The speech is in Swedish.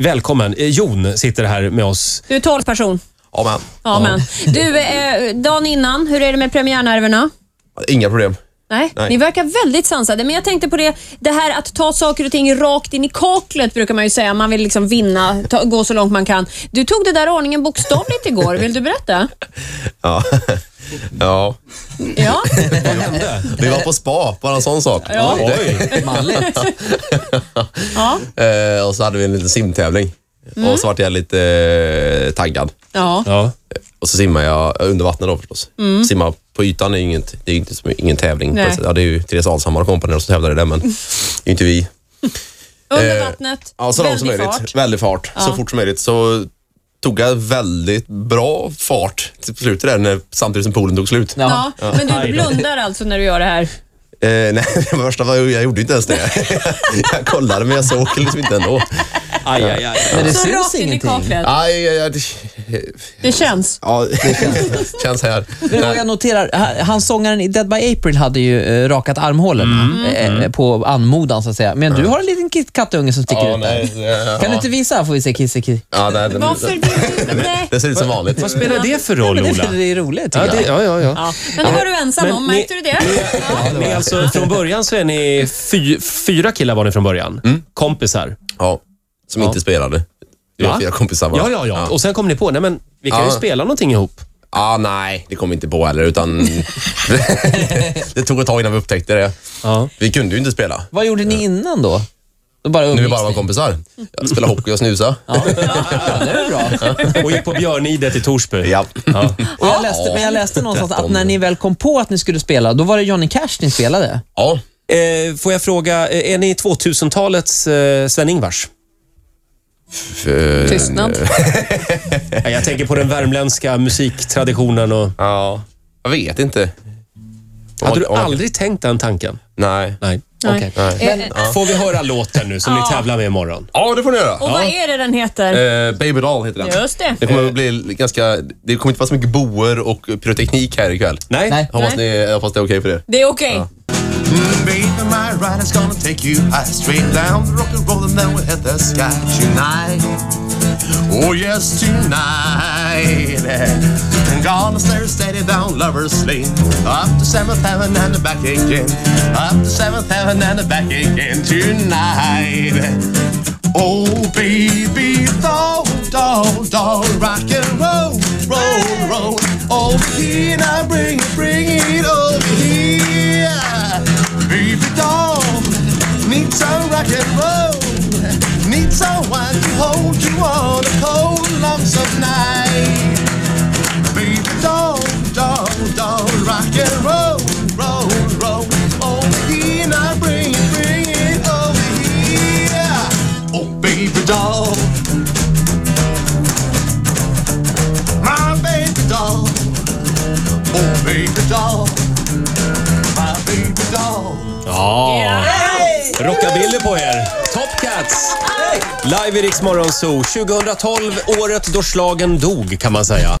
Välkommen. Eh, Jon sitter här med oss. Du är talsperson. Ja, men, Amen. Du, eh, dagen innan, hur är det med premiärnerverna? inga problem. Nej, Nej. ni verkar väldigt sansade. Men jag tänkte på det, det här att ta saker och ting rakt in i kaklet brukar man ju säga. Man vill liksom vinna, ta, gå så långt man kan. Du tog det där aningen bokstavligt igår. Vill du berätta? Ja. ja. Ja. Vi var på spa, bara en sån sak. Ja. Oj. Malligt. Ja. Eh, och så hade vi en liten simtävling. Mm. Och så vart jag lite eh, taggad. ja. Ja. Och så simmar jag eh, under vattnet då förstås. Simma på ytan är ju inget, det är ju inte som, ingen tävling. Mm. Nej. Nej. Ja, det är ju Therese Alshammar och kompani som tävlar i det, men det är ju inte vi. Under Eh, vattnet, Ja, så långt som väldig möjligt. fart. Väldigt fart. Så fort som möjligt. Så tog jag väldigt bra fart till slutet där, när, samtidigt som poolen tog slut. Ja. Ja, men du blundar alltså när du gör det här? Eh, nej, det värsta var ju, jag gjorde inte ens det. jag kollade men jag såg liksom inte ändå. Aj, aj, aj. Men det Så syns rakt in i ingenting. kaklet. Aj, aj, aj. Det känns. Ja, det känns, känns här. Men vad jag noterar, ha- han sångaren i Dead by April hade ju eh, rakat armhålorna eh, eh, på anmodan så att säga. Men du har en liten Kit Kat-unge som sticker Ja, ut där. nej, ja, Kan du inte visa? Får vi se Kissy Kissy. Ja, nej, det, Varför det, blir du nej? det ser ut som vanligt. Vad spelar det för roll, Men Ola? det, det är roligt tycker Ja, det, jag. ja, ja, ja. Ja. Men det var du ensam Men om, ni- märkte du det? Ja. Ni är alltså, från början så är ni fy, fyra killar var ni från början. Mm. Kompisar. Ja, som inte spelade. Vi Va? var fyra kompisar bara. Ja, ja, ja. Och sen kom ni på, nej men vi kan ju Ja. spela någonting ihop. Ah, nej, det kom vi inte på heller utan det tog ett tag innan vi upptäckte det. Ja. Vi kunde ju inte spela. Vad gjorde ni innan då? då bara Nu är umgicks vi bara var ni. kompisar. Jag spelar hockey och snusa. Ja, det är bra. Och gick på Björnidet i Torsby. Ja. Ja. Och jag läste, men jag läste någonstans att när ni väl kom på att ni skulle spela, då var det Johnny Cash ni spelade. ja. Eh, får jag fråga, eh, är ni 2000-talets eh, Sven-Ingvars? För- Tystnad. Ja, Jag tänker på den värmländska musiktraditionen och... Ja, jag vet inte. Om Hade man- du om man- aldrig tänkt den tanken? Nej. Nej. Nej. Okej. Nej. Eh, Får vi höra låten nu som ni tävlar med imorgon? Ja, det får ni göra. Och vad är det den heter? Eh, Baby Doll heter den. Just det. Det kommer att bli ganska... Det kommer inte vara så mycket boer och pyroteknik här ikväll. Nej? Nej. Jag Hoppas, ni, jag hoppas det är okej för er. Det är okej. Mm, baby, my ride is gonna take you high, straight down the rock and roll, and then we'll hit the sky tonight. Oh yes, tonight. And gonna stare steady down Lover's Lane, up to Seventh Heaven and back again, up to Seventh Heaven and back again tonight. Oh baby, doll, doll, doll, rock and roll, roll, roll. Oh, here I bring it, bring it over here. Baby doll, need some rock and roll. Need someone to hold you on the cold lumps of night. Baby doll, doll, doll, rock and roll, roll, roll. Over here now, bring it, bring it over here. Oh, baby doll. My baby doll. Oh, baby doll. My baby doll. Ja. Rockabilly på er. Top Cats. Live i Rix Morgon Zoo. 2012, året då slagen dog kan man säga.